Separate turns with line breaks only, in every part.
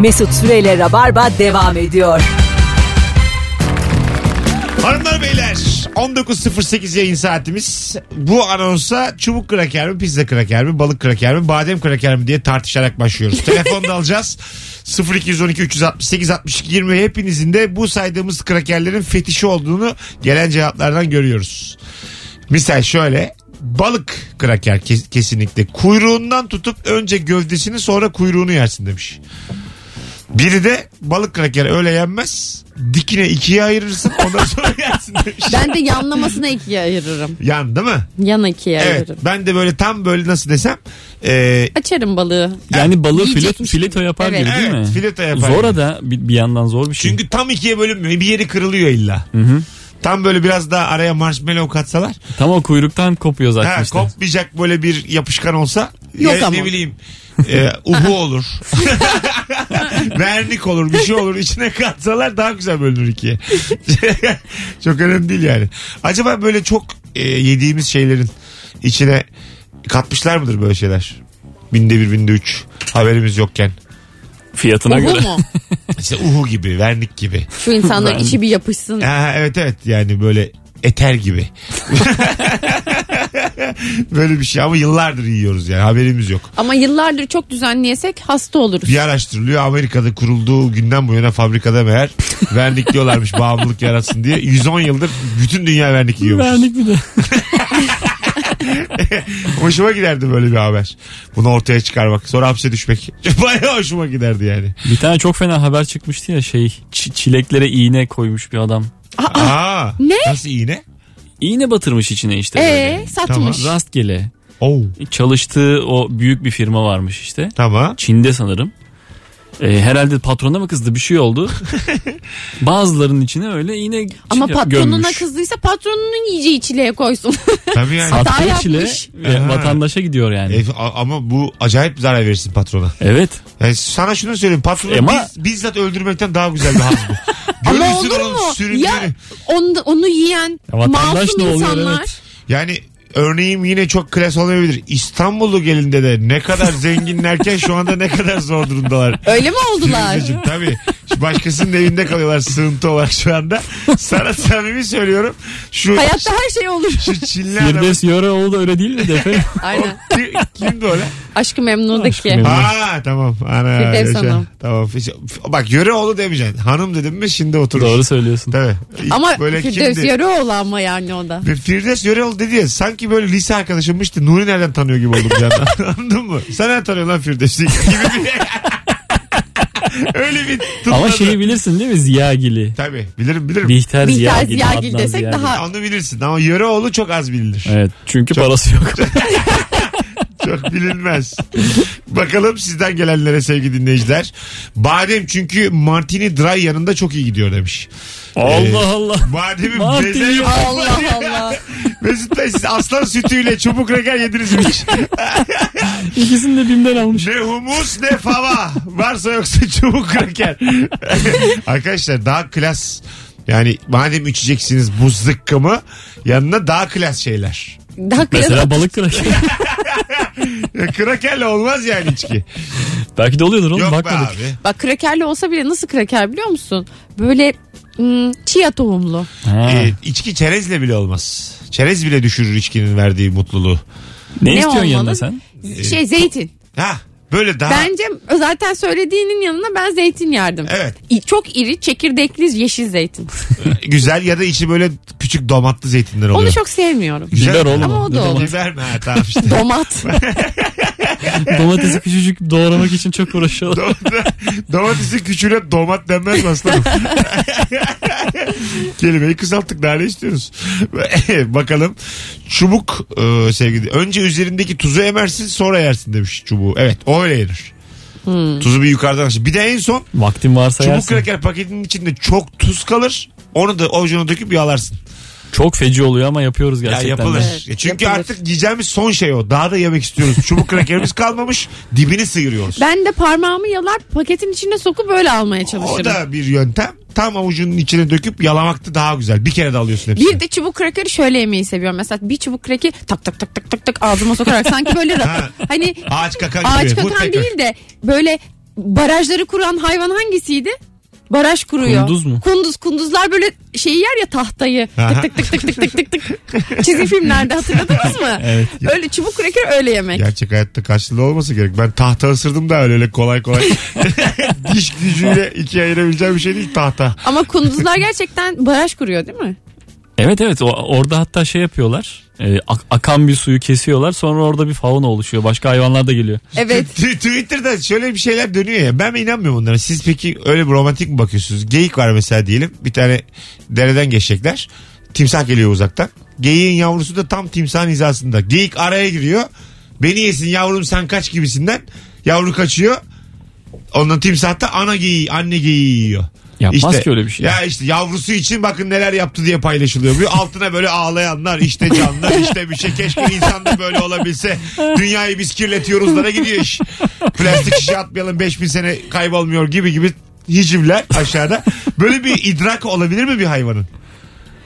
Mesut Süreyle Rabarba devam ediyor.
Hanımlar beyler 19.08 yayın saatimiz. Bu anonsa çubuk kraker mi, pizza kraker mi, balık kraker mi, badem kraker mi diye tartışarak başlıyoruz. Telefonda alacağız. 0212 368 62 20 hepinizin de bu saydığımız krakerlerin fetişi olduğunu gelen cevaplardan görüyoruz. Misal şöyle balık kraker kes- kesinlikle kuyruğundan tutup önce gövdesini sonra kuyruğunu yersin demiş. Biri de balık kraker öyle yenmez. Dikine ikiye ayırırsın ondan sonra yersin demiş.
Ben de yanlamasına ikiye ayırırım.
Yan değil mi?
Yan ikiye
Evet.
ayırırım.
Ben de böyle tam böyle nasıl desem. E,
Açarım balığı.
Yani balığı filet,
Yiyecekmiş
fileto yapar
gibi.
gibi değil
Evet,
mi?
fileto yapar
Zora
gibi.
da bir, bir yandan zor bir şey.
çünkü tam ikiye bölünmüyor. Bir yeri kırılıyor illa. Tam böyle biraz daha araya marshmallow katsalar.
Tam o kuyruktan kopuyor zaten
Ha,
işte.
kopmayacak böyle bir yapışkan olsa.
Yok
ya,
ama.
Ne bileyim. E, ubu olur. Vernik olur bir şey olur. İçine katsalar daha güzel bölünür ikiye. çok önemli değil yani. Acaba böyle çok e, yediğimiz şeylerin içine katmışlar mıdır böyle şeyler? Binde bir binde üç haberimiz yokken.
Fiyatına
Bu
göre.
mu?
İşte uhu gibi, vernik gibi.
Şu insanların
Ben-
içi bir yapışsın.
Ha, evet evet yani böyle eter gibi. böyle bir şey ama yıllardır yiyoruz yani haberimiz yok.
Ama yıllardır çok düzenli yesek hasta oluruz.
Bir araştırılıyor Amerika'da kurulduğu günden bu yana fabrikada meğer vernik diyorlarmış bağımlılık yaratsın diye. 110 yıldır bütün dünya vernik yiyormuş.
Vernik bir de.
Hoşuma giderdi böyle bir haber. Bunu ortaya çıkarmak sonra hapse düşmek. Bayağı hoşuma giderdi yani.
Bir tane çok fena haber çıkmıştı ya şey çi- çileklere iğne koymuş bir adam.
Aa,
Ne?
Nasıl iğne?
İğne batırmış içine işte. böyle.
Ee satmış.
Rastgele.
Oo,
Çalıştığı o büyük bir firma varmış işte.
tamam.
Çin'de sanırım. Ee, herhalde patrona mı kızdı bir şey oldu. Bazılarının içine öyle iğne
Ama
çi-
patronuna
gömmüş.
kızdıysa patronunun yiyeceği çileye koysun.
Tabii yani.
Hata
Attığı çile
yapmış.
ve
Aha.
vatandaşa gidiyor yani.
E, a- ama bu acayip zarar verirsin patrona.
evet.
Yani sana şunu söyleyeyim patronu
Ama-
biz- bizzat öldürmekten daha güzel bir haz bu.
E, Ama
Görürsün
olur
onun
mu?
süründüğünü.
Ya onu, onu yiyen
Ya vatandaş
masum
ne oluyor,
insanlar.
evet.
Şey Yani örneğim yine çok klas olmayabilir. İstanbullu gelinde de ne kadar zenginlerken şu anda ne kadar zor durumdalar.
Öyle mi oldular?
Firuzeciğim, tabii. Şu Başkasının evinde kalıyorlar sığıntı olarak şu anda. Sana samimi söylüyorum. Şu,
Hayatta her şey olur.
şu Çinli adamın
Firdevs Yöreoğlu da öyle değil mi Defe?
Aynen.
Ki- kimdi öyle?
Aşkı Memnu'daki.
Memnu.
Aa tamam. Ana,
Firdevs
yaşa.
Hanım.
Tamam. Bak yöre oğlu demeyeceksin. Hanım dedim mi şimdi oturur.
Doğru söylüyorsun.
Tabii. İlk
Ama Firdevs
kimdi?
Yarıoğlu ama yani o da.
Ve Firdevs Yörel dedi ya sanki böyle lise arkadaşımmış da Nuri nereden tanıyor gibi oldum bir yandan. Anladın mı? Sen nereden tanıyorsun lan Firdevs'i? Gibi bir... Öyle bir tutmadı.
Ama şeyi bilirsin değil mi Ziyagili?
Tabii bilirim bilirim.
Bihter,
Bihter
Ziyagili.
Ziyagil
Adnan
desek
Ziyagil.
daha
Onu bilirsin ama Yöreoğlu çok az bilinir.
Evet çünkü parası yok.
Çok bilinmez. Bakalım sizden gelenlere sevgili dinleyiciler. Badem çünkü Martini Dry yanında çok iyi gidiyor demiş. Ee,
Allah Allah.
Bademin
Martini
beze yok.
Allah Allah.
Mesut Bey siz aslan sütüyle çubuk reker yediniz mi hiç?
İkisini de bimden almış.
Ne humus ne fava. Varsa yoksa çubuk kraker. Arkadaşlar daha klas. Yani madem içeceksiniz bu zıkkımı yanına daha klas şeyler.
Daha klas-
Mesela balık kraker.
Ya Krakerle olmaz yani içki.
Belki de oluyordur oğlum
Yok be
bakmadık.
abi.
Bak krakerli olsa bile nasıl kraker biliyor musun? Böyle hmm, chia tohumlu.
Ha.
Ee, içki çerezle bile olmaz. Çerez bile düşürür içkinin verdiği mutluluğu.
ne, istiyorsun
olmalı?
yanına sen?
Şey zeytin.
Ee, Ha böyle daha
Bence zaten söylediğinin yanına ben zeytin yerdim.
Evet.
İ- Çok iri çekirdekli yeşil zeytin.
güzel ya da içi böyle küçük domatlı zeytinler oluyor.
Onu çok sevmiyorum.
Güzel.
Biber oğlum.
Ama o da
Ne
olur.
Biber mi? Ha, tamam işte.
Domat.
Domatesi küçücük doğramak için çok uğraşıyorlar.
Domat- Domatesi küçüğüne domat denmez mi aslanım? Kelimeyi kısalttık daha ne istiyoruz? Bakalım. Çubuk e, sevgili. Önce üzerindeki tuzu emersin sonra yersin demiş çubuğu. Evet o öyle yenir. Tuzu bir yukarıdan açın. Bir de en son
Vaktin varsa
çubuk
yersin.
kraker paketinin içinde çok tuz kalır. Onu da ovucuna döküp yalarsın.
Çok feci oluyor ama yapıyoruz
Ya
gerçekten.
yapılır.
de.
Evet,
Ya Çünkü
yapılır.
artık yiyeceğimiz son şey o. Daha da yemek istiyoruz. Çubuk krakerimiz kalmamış. Dibini sıyırıyoruz.
Ben de parmağımı yalar paketin içine sokup böyle almaya
O
çalışırım.
da bir yöntem. Tam avucunun içine döküp yalamaktı daha güzel. Bir kere de alıyorsun hepsini.
Bir de çubuk krakeri şöyle yemeyi seviyorum. Mesela bir çubuk krakeri tak tak tak tak tak tak ağzıma sokarak sanki böyle
Ha.
hani
Ağaç kakan gibi.
ağaç
Woodpecker.
kakan değil de böyle barajları kuran hayvan hangisiydi? Baraj kuruyor.
Kunduz mu?
Kunduz. Kunduzlar böyle şeyi yer ya tahtayı.
Aha.
Tık tık tık tık tık tık tık tık. Çizgi filmlerde hatırladınız mı?
Evet.
Öyle çubuk kreker öyle yemek.
Gerçek hayatta karşılığı olması gerek. Ben tahta ısırdım da öyle, öyle kolay kolay. Diş gücüyle ikiye ayırabileceğim bir şey değil tahta.
Ama kunduzlar gerçekten baraj kuruyor değil mi?
Evet evet o- orada hatta şey yapıyorlar. E, ak- akan bir suyu kesiyorlar sonra orada bir fauna oluşuyor. Başka hayvanlar da geliyor.
Evet.
T- Twitter'da şöyle bir şeyler dönüyor ya. Ben inanmıyorum onlara. Siz peki öyle bir romantik mi bakıyorsunuz? Geyik var mesela diyelim. Bir tane dereden geçecekler. Timsah geliyor uzaktan. Geyiğin yavrusu da tam timsahın hizasında. Geyik araya giriyor. Beni yesin yavrum sen kaç gibisinden. Yavru kaçıyor. Ondan timsah da ana geyiği, anne geyiği yiyor.
Yapmaz ki öyle bir şey.
Ya işte yavrusu için bakın neler yaptı diye paylaşılıyor. Bir altına böyle ağlayanlar işte canlar işte bir şey. Keşke insan da böyle olabilse. Dünyayı biz kirletiyoruzlara gidiyor iş. Plastik şişe atmayalım 5000 sene kaybolmuyor gibi gibi hicivler aşağıda. Böyle bir idrak olabilir mi bir hayvanın?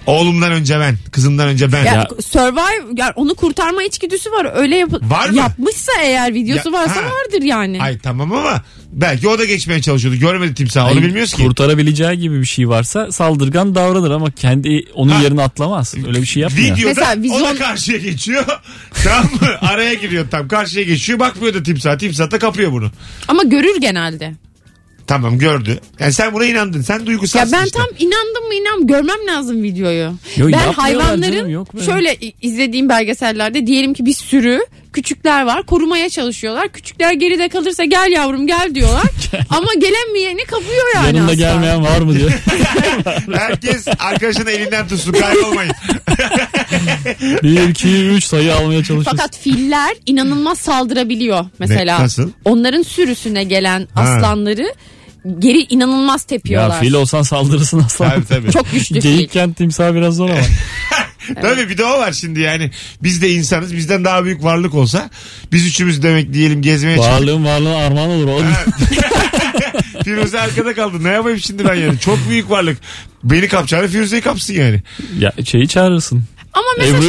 Oğlumdan önce ben, kızımdan önce ben.
Ya,
Ya-
Survive yani onu kurtarma içgüdüsü var. Öyle yap-
Var mı?
yapmışsa eğer videosu
Ya-
varsa
Ha.
vardır yani.
Ay tamam ama belki o da geçmeye çalışıyordu. Görmedi timsah onu
Hayır,
bilmiyoruz ki.
Kurtarabileceği gibi bir şey varsa saldırgan davranır ama kendi onun
Ha. yerine
yerine atlamaz. Öyle bir şey yapmıyor.
Videoda
Mesela
o da
vizyon-
karşıya geçiyor. tamam mı? Araya giriyor tam karşıya geçiyor. Bakmıyor da timsah. Timsah da kapıyor bunu.
Ama görür genelde.
Tamam gördü. Yani sen buna inandın. Sen
Ya
duygusalsın
ben
işte.
tam inandım mı inan görmem lazım videoyu.
Yo,
ben
yapmıyorlar
hayvanların
canım, yok böyle.
şöyle i- izlediğim belgesellerde diyelim ki bir sürü küçükler var korumaya çalışıyorlar. Küçükler geride kalırsa gel yavrum gel diyorlar. Ama gelemeyeni kapıyor yani
Yanında
aslan.
gelmeyen var mı diyor.
Herkes arkadaşın elinden tutsun. Kaybolmayın.
1 2 3 sayı almaya çalışıyorsun.
Fakat filler inanılmaz saldırabiliyor mesela.
Ne- nasıl?
Onların sürüsüne gelen
Ha.
aslanları geri inanılmaz tepiyorlar.
Ya fil olsan saldırırsın aslan.
tabii tabii.
Çok güçlü fil.
Geyikken timsah biraz zor ama.
Tabii bir de o var şimdi yani. Biz de insanız. Bizden daha büyük varlık olsa biz üçümüz demek diyelim gezmeye çıktık.
Varlığın varlığına armağan olur oğlum.
Firuze arkada kaldı. Ne yapayım şimdi ben yani? Çok büyük varlık. Beni kapacağını Firuze'yi kapsın yani.
ya şeyi çağırırsın.
Ama mesela
Ebru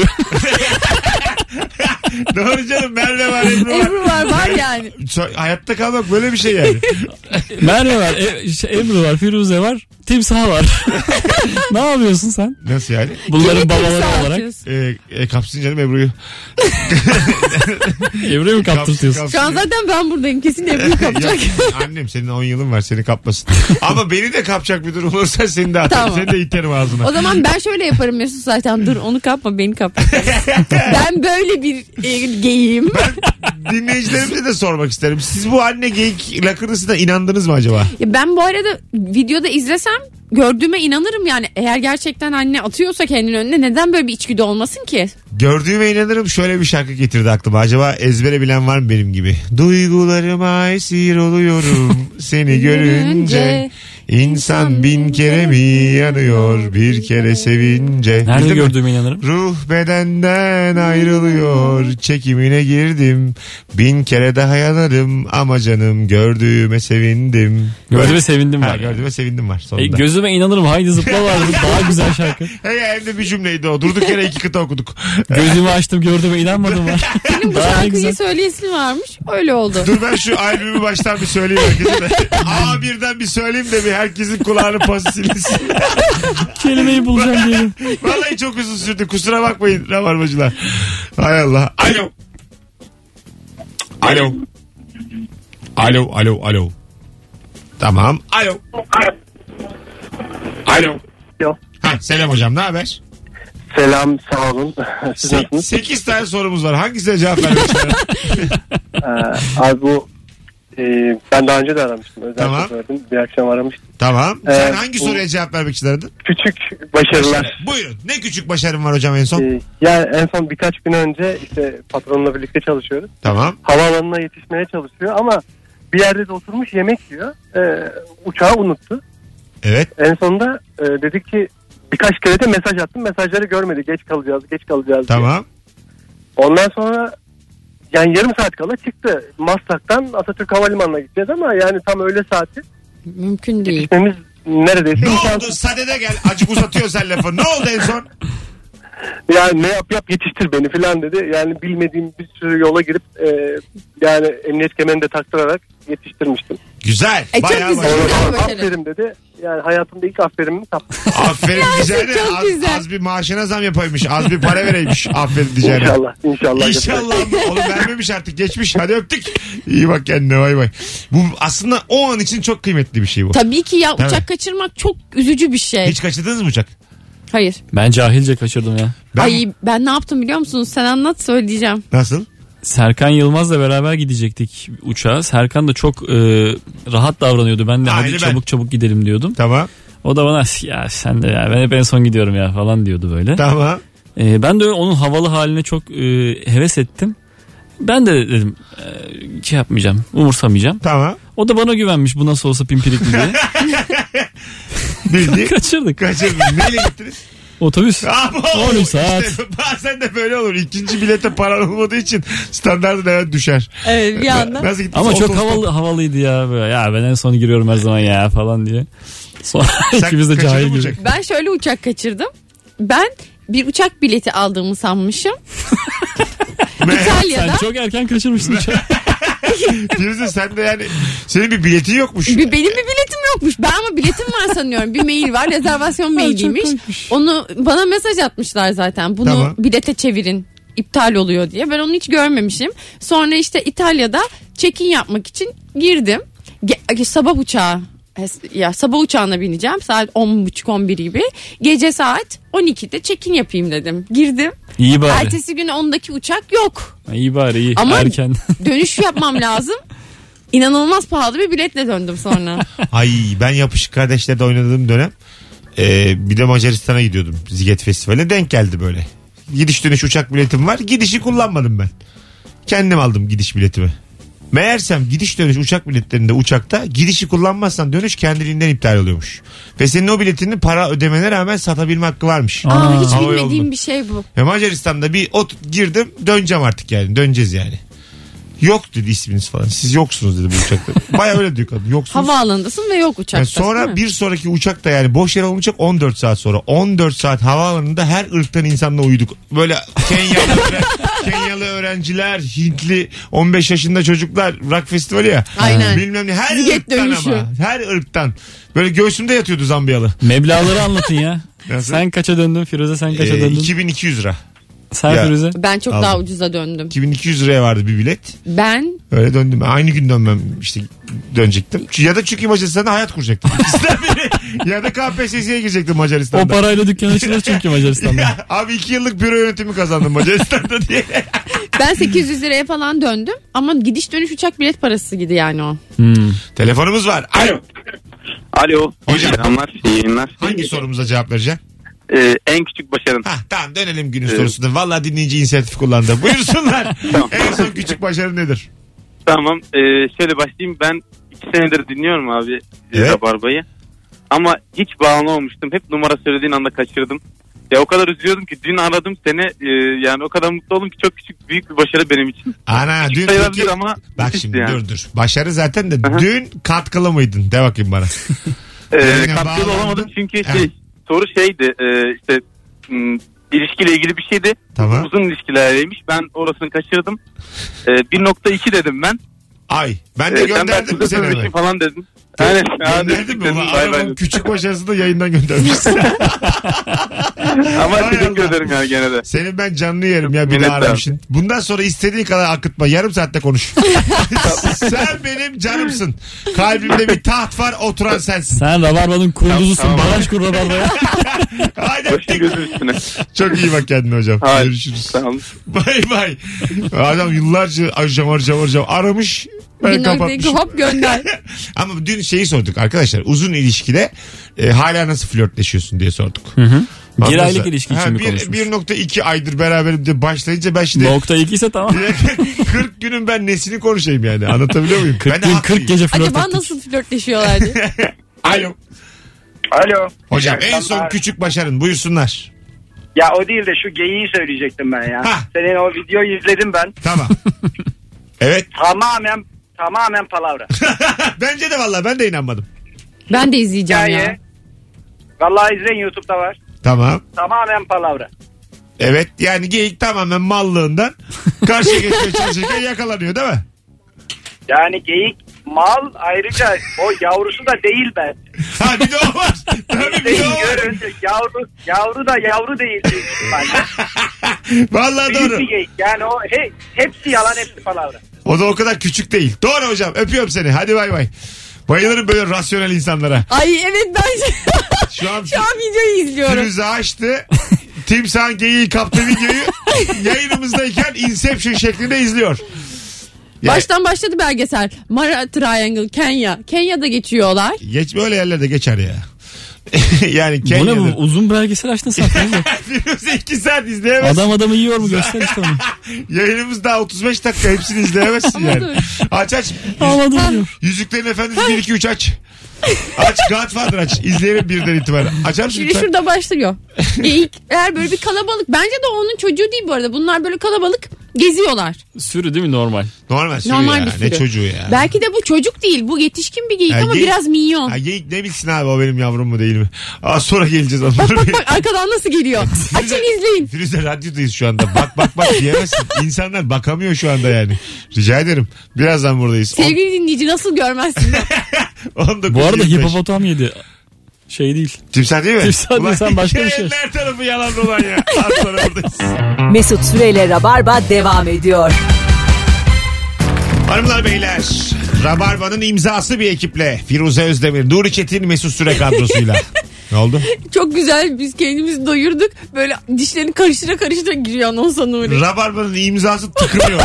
Doğru canım Merve var Ebru var.
Ebru var var yani.
So- Hayatta kalmak böyle bir şey yani.
Merve var, E- şey, Ebru var, Firuze var, timsah var. ne yapıyorsun sen?
Nasıl yani?
Bunların
Kimi
babaları
timsah
olarak
atıyorsun?
E, e, kapsın canım Ebru'yu.
Ebru'yu mu kaptırtıyorsun?
Kapsın,
Şu an
kapsın.
zaten ben buradayım kesin Ebru kapacak.
Yok, annem senin 10 yılın var seni kapmasın. Ama beni de kapacak bir durum olursa seni de atarım.
Tamam.
Seni de iterim ağzına.
O zaman ben şöyle yaparım Mesut zaten. Dur onu kapma beni kap. ben böyle bir e, geyim.
Dinleyicilerimize de sormak isterim. Siz bu anne geyik lakırısına inandınız mı acaba?
Ben bu arada videoda izlesem gördüğüme inanırım yani. Eğer gerçekten anne atıyorsa kendini önüne neden böyle bir içgüdü olmasın ki?
Gördüğüme inanırım şöyle bir şarkı getirdi aklıma. Acaba ezbere bilen var mı benim gibi? Duygularıma esir oluyorum seni görünce. İnsan bin kere mi yanıyor bir kere sevince.
Nerede
Bildin mi?
gördüğüme inanırım.
Ruh bedenden ayrılıyor çekimine girdim bin kere daha yanarım ama canım gördüğüme sevindim.
Gördüğüme sevindim
Ha,
ben.
gördüğüme sevindim var
E,
sonunda.
gözüme inanırım haydi zıpla vardı daha güzel şarkı.
He, hem de bir cümleydi o durduk yere iki kıta okuduk. E,
Gözümü açtım gördüğüme inanmadım var.
Benim bu
Daha
şarkıyı
güzel.
söyleyesi varmış. Öyle oldu.
Dur ben şu albümü baştan bir söyleyeyim herkese de. A1'den bir söyleyeyim de bir herkesin kulağını pası silinsin.
Kelimeyi bulacağım diyelim.
Vallahi çok uzun sürdü kusura bakmayın rabarbacılar. Hay Allah. Alo. Alo. Alo alo alo. Tamam. Alo. Alo.
Alo.
Ha, selam hocam ne haber?
Selam sağ olun. Siz nasılsınız?
8 tane sorumuz var. Hangisine cevap vermek istiyorsun?
Ee, abi bu e, ben daha önce de aramıştım. Özellikle
Tamam.
sordum. Bir akşam aramıştım.
tamam. Sen
Ee,
hangi
bu-
soruya cevap vermek isterdin?
Küçük başarılar.
Buyurun. Ne küçük başarım var hocam en son?
Ee, yani en son birkaç gün önce işte patronla birlikte çalışıyoruz.
Tamam.
Havaalanına yetişmeye çalışıyor ama bir yerde de oturmuş yemek yiyor. Ee, uçağı unuttu.
Evet.
En sonunda e, dedik ki birkaç kere de mesaj attım. Mesajları görmedi. Geç kalacağız, geç kalacağız diye.
Tamam.
Ondan sonra yani yarım saat kala çıktı. Maslak'tan Atatürk Havalimanı'na gideceğiz ama yani tam öğle saati.
Mümkün değil.
Gitmemiz neredeyse
Ne
imkansız.
oldu? Sadede gel. Acık uzatıyor sen lafı. Ne oldu en son?
yani ne yap yap yetiştir beni falan dedi. Yani bilmediğim bir sürü yola girip e, yani emniyet kemerini de taktırarak yetiştirmiştim.
Güzel.
E, çok
Bayağı
güzel.
bayağı.
Sonra
başarı.
aferin dedi. Yani hayatımda ilk aferimi kaptım
Aferin diyeceğine
çok
az,
güzel.
az bir maaşına zam yapaymış. Az bir para vereymiş. Aferin diyeceğine.
inşallah. İnşallah.
İnşallah. Oğlum vermemiş artık geçmiş. Hadi öptük. İyi bak kendine bay bay. Bu aslında o an için çok kıymetli bir şey bu.
Tabii ki ya uçak
Tabii.
kaçırmak çok üzücü bir şey.
Hiç kaçırdınız mı uçak?
Hayır.
Ben cahilce kaçırdım ya.
Ben
Ay ben ne yaptım biliyor musunuz? Sen anlat söyleyeceğim.
nasıl?
Serkan Yılmaz'la beraber gidecektik uçağa. Serkan da çok e, rahat davranıyordu. Ben de
Aynı
hadi
ben.
çabuk çabuk gidelim diyordum.
Tamam.
O da bana ya sen de ya ben hep en son gidiyorum ya falan diyordu böyle.
Tamam.
E, ben de onun havalı haline çok e, heves ettim. Ben de dedim e, şey yapmayacağım umursamayacağım.
Tamam.
O da bana güvenmiş bu nasıl olsa pimpirikli diye.
Bildi.
Kaçırdık.
Kaçırdın. Neyle gittiniz?
Otobüs.
Ama
Oğlum
oğlum
saat.
işte bazen de böyle olur. İkinci bilete paran olmadığı için standartın hemen düşer.
Evet bir yandan.
Nasıl gittiniz?
Ama çok
Otostop.
havalı havalıydı ya böyle. Ya ben en son giriyorum her zaman ya falan diye. Sonra
Sen
ikimiz de
kaçırdın
cahil
mı
gibi.
uçak?
Ben şöyle uçak kaçırdım. Ben bir uçak bileti aldığımı sanmışım.
Sen
İtalya'da
çok erken kaçırmışsın uçağı.
Firuze sen de yani senin bir biletin yokmuş.
bir, benim bir biletim yokmuş. Ben ama biletim var sanıyorum. Bir mail var. Rezervasyon mailiymiş. Onu bana mesaj atmışlar zaten. Bunu
Tamam.
bilete çevirin. iptal oluyor diye. Ben onu hiç görmemişim. Sonra işte İtalya'da check-in yapmak için girdim. Ge- sabah uçağı ya sabah uçağına bineceğim saat 10.30-11 gibi gece saat 12'de check-in yapayım dedim girdim
İyi bari.
ertesi gün ondaki uçak yok
İyi bari iyi.
Ama-
Erken.
dönüş yapmam lazım. İnanılmaz pahalı bir biletle döndüm sonra.
Ay ben yapışık kardeşlerde oynadığım dönem e, bir de Macaristan'a gidiyordum Ziget Festivali'ne denk geldi böyle. Gidiş dönüş uçak biletim var. Gidişi kullanmadım ben. Kendim aldım gidiş biletimi. Meğersem gidiş dönüş uçak biletlerinde uçakta gidişi kullanmazsan dönüş kendiliğinden iptal oluyormuş. Ve senin o biletini para ödemene rağmen satabilme hakkı varmış.
Aa,
Aa,
hiç
hava
bilmediğim
yolunu.
bir şey bu.
Ve Macaristan'da bir ot girdim döneceğim artık yani döneceğiz yani. Yok dedi isminiz falan. Siz yoksunuz dedi bu uçakta. Baya öyle diyor kadın. Yoksunuz.
Havaalanındasın ve yok uçakta.
Yani E,
değil
sonra
mi?
bir sonraki uçakta yani boş yer olmayacak 14 saat sonra. 14 saat havaalanında her ırktan insanla uyuduk. Böyle Kenyalı, öğren- Kenyalı öğrenciler, Hintli, 15 yaşında çocuklar rock festivali ya.
Aynen.
Bilmem ne her
Ziget
ırktan
dönüşü.
ama. Her ırktan. Böyle göğsümde yatıyordu Zambiyalı.
Meblağları anlatın ya.
Nasıl?
Sen kaça döndün Firuze sen kaça
Ee,
döndün?
2200 lira.
Sen
Ya.
Firuze.
Ben çok
Aldım.
daha ucuza döndüm.
2200 liraya vardı bir bilet.
Ben
Öyle döndüm. Aynı gün dönmem işte dönecektim. Ya da çünkü Macaristan'da hayat kuracaktım. İkisinden biri. ya da KPSS'ye girecektim
O
Macaristan'da.
parayla dükkan açılır çünkü Macaristan'da.
Ya, abi iki yıllık büro yönetimi kazandım Macaristan'da diye.
ben 800 liraya falan döndüm ama gidiş dönüş uçak bilet parası gibi yani o.
Hmm.
Telefonumuz var. Alo.
Alo.
Hocam.
Selamlar. iyi yayınlar.
Hangi sorumuza cevap vereceksin?
Ee, en küçük başarın.
Hah tamam dönelim günün
Evet.
sorusuna. Valla dinleyici inisiyatif kullandı. Buyursunlar.
Tamam.
en son küçük başarı nedir?
Tamam. ee, şöyle başlayayım. Ben iki senedir dinliyorum abi
Evet.
evet. Rabarba'yı. Ama hiç bağımlı olmuştum. Hep numara söylediğin anda kaçırdım. Ya o kadar üzülüyordum ki dün aradım seni. ee, yani o kadar mutlu oldum ki çok küçük büyük bir başarı benim için.
Ana dün
Sayılabilir
peki...
ama
Bak
müthişti
şimdi
yani.
dur dur. Başarı zaten de
Aha.
dün katkılı mıydın? De bakayım bana.
Ee,
Yayına
katkılı
bağlandın.
olamadım çünkü
Evet.
şey soru şeydi e, işte m, ilişkiyle ilgili bir şeydi.
Tamam.
Uzun ilişkilermiş. Ben orasını kaçırdım. Ee, 1.2 dedim ben.
Ay ben de
Ee, sen
gönderdim mi
belki
seni
kızın
oraya?
için falan dedim. Aynen. Aa,
Gönderdim mi?
dedim,
Ulan
bay bay
adamın
dedim.
küçük başarısı da yayından göndermişsin.
Ama
Hay
teşekkür
Allah.
ederim yani gene de.
Senin ben canlı yerim ya bir daha
Minnettarım.
aramışsın. Bundan sonra istediğin kadar akıtma. Yarım saatte konuş. Sen benim canımsın. Kalbimde bir taht var oturan sensin.
Sen Rabarba'nın kurulucusun.
Tamam, tamam.
Baraj kur Rabarba'ya.
Haydi
Başın
öptük.
gözün üstüne.
Çok iyi bak kendine hocam.
Hayır.
Görüşürüz.
Sağ olun.
Bay bay. Adam yıllarca ay camar camar camar aramış. Ben
Bir noktayı
kapatmışım.
hop gönder.
Ama dün şeyi sorduk arkadaşlar. Uzun ilişkide e, hala nasıl flörtleşiyorsun diye sorduk.
Bir
Ondan
aylık
sonra-
ilişki
Ha,
için mi
bir-
konuşmuş?
1.2 aydır beraberim diye başlayınca ben şimdi
Nokta 2 ise tamam.
40 günün ben nesini konuşayım yani anlatabiliyor muyum?
40
ben de
gün 40
haklıyım.
gece flört
Acaba
ettik.
nasıl flörtleşiyorlar diye.
Alo.
Alo.
Hocam
İyi
en son
akşamlar.
küçük başarın buyursunlar.
Ya o değil de şu geyiği söyleyecektim ben ya.
Hah.
Senin o videoyu izledim ben.
Tamam. evet.
Tamamen tamamen palavra.
Bence de valla ben de inanmadım.
Ben de izleyeceğim ya.
Hikaye. Vallahi izleyin YouTube'da var.
Tamam.
Tamamen palavra.
Evet yani geyik tamamen mallığından karşıya geçmeye çalışırken yakalanıyor değil mi?
Yani geyik mal ayrıca o yavrusu da değil ben.
Ha bir de o var. Tabii bir de o var.
Görüntü yavru yavru da yavru değil. büyük ihtimalle.
Vallahi
Büyük
doğru.
bir geyik. Yani o he- hepsi yalan hepsi palavra.
O da o kadar küçük değil. Doğru hocam öpüyorum seni. Hadi bay bay. Bayılırım böyle rasyonel insanlara.
Ay evet ben
Şu an
şu an videoyu izliyorum.
Firuze açtı. Timsahın geyiği kaptı videoyu. Yayınımızdayken Inception şeklinde izliyor. Yani-
Baştan başladı belgesel. Mara Triangle Kenya. Kenya'da geçiyorlar.
Geç böyle yerlerde geçer ya. yani
Bu ne bu?
Kenya'da.
Uzun belgesel açtın sen. Firuze.
Firuze 2 saat izleyemez.
Adam adamı yiyor mu? Göster işte onu.
Yayınımız daha 35 dakika hepsini izleyemezsin yani. Aç aç.
Havada duruyor.
Yüzüklerin Efendisi 1 2 3 aç. Aç Godfather aç. İzleyelim birden itibaren. Açar mısın
Şimdi
lütfen?
şurada başlıyor. Geyikler böyle bir kalabalık. Bence de onun çocuğu değil bu arada. Bunlar böyle kalabalık geziyorlar.
Sürü değil mi normal?
Normal sürü
Normal
ya.
bir
Ne
sürü.
çocuğu ya.
Belki de bu çocuk değil. Bu yetişkin bir geyik
Ya
ama
geyik-
biraz minyon.
Ha, geyik ne bilsin abi o benim yavrum mu değil mi? Az sonra geleceğiz. Onları
Bak
bir-
bak bak arkadan nasıl geliyor. Açın izleyin.
Firuze radyodayız şu anda. Bak bak bak diyemezsin. İnsanlar bakamıyor şu anda yani. Rica ederim. Birazdan buradayız. On-
Sevgili dinleyici nasıl görmezsin?
19.25.
Bu arada hipopotam yedi. Şey değil.
Timsah değil mi?
Timsah değil,
Ulan
sen başka bir
hikayenin
şey.
Her tarafı yalan dolan ya. Az sonra buradayız.
Mesut Süreyle Rabarba devam ediyor.
Hanımlar beyler. Rabarba'nın imzası bir ekiple. Firuze Özdemir, Nuri Çetin, Mesut Süre kadrosuyla. ne oldu?
Çok güzel biz kendimizi doyurduk. Böyle dişlerini karıştıra karıştıra giriyor anonsa Nuri.
Rabarba'nın imzası tıkırıyor.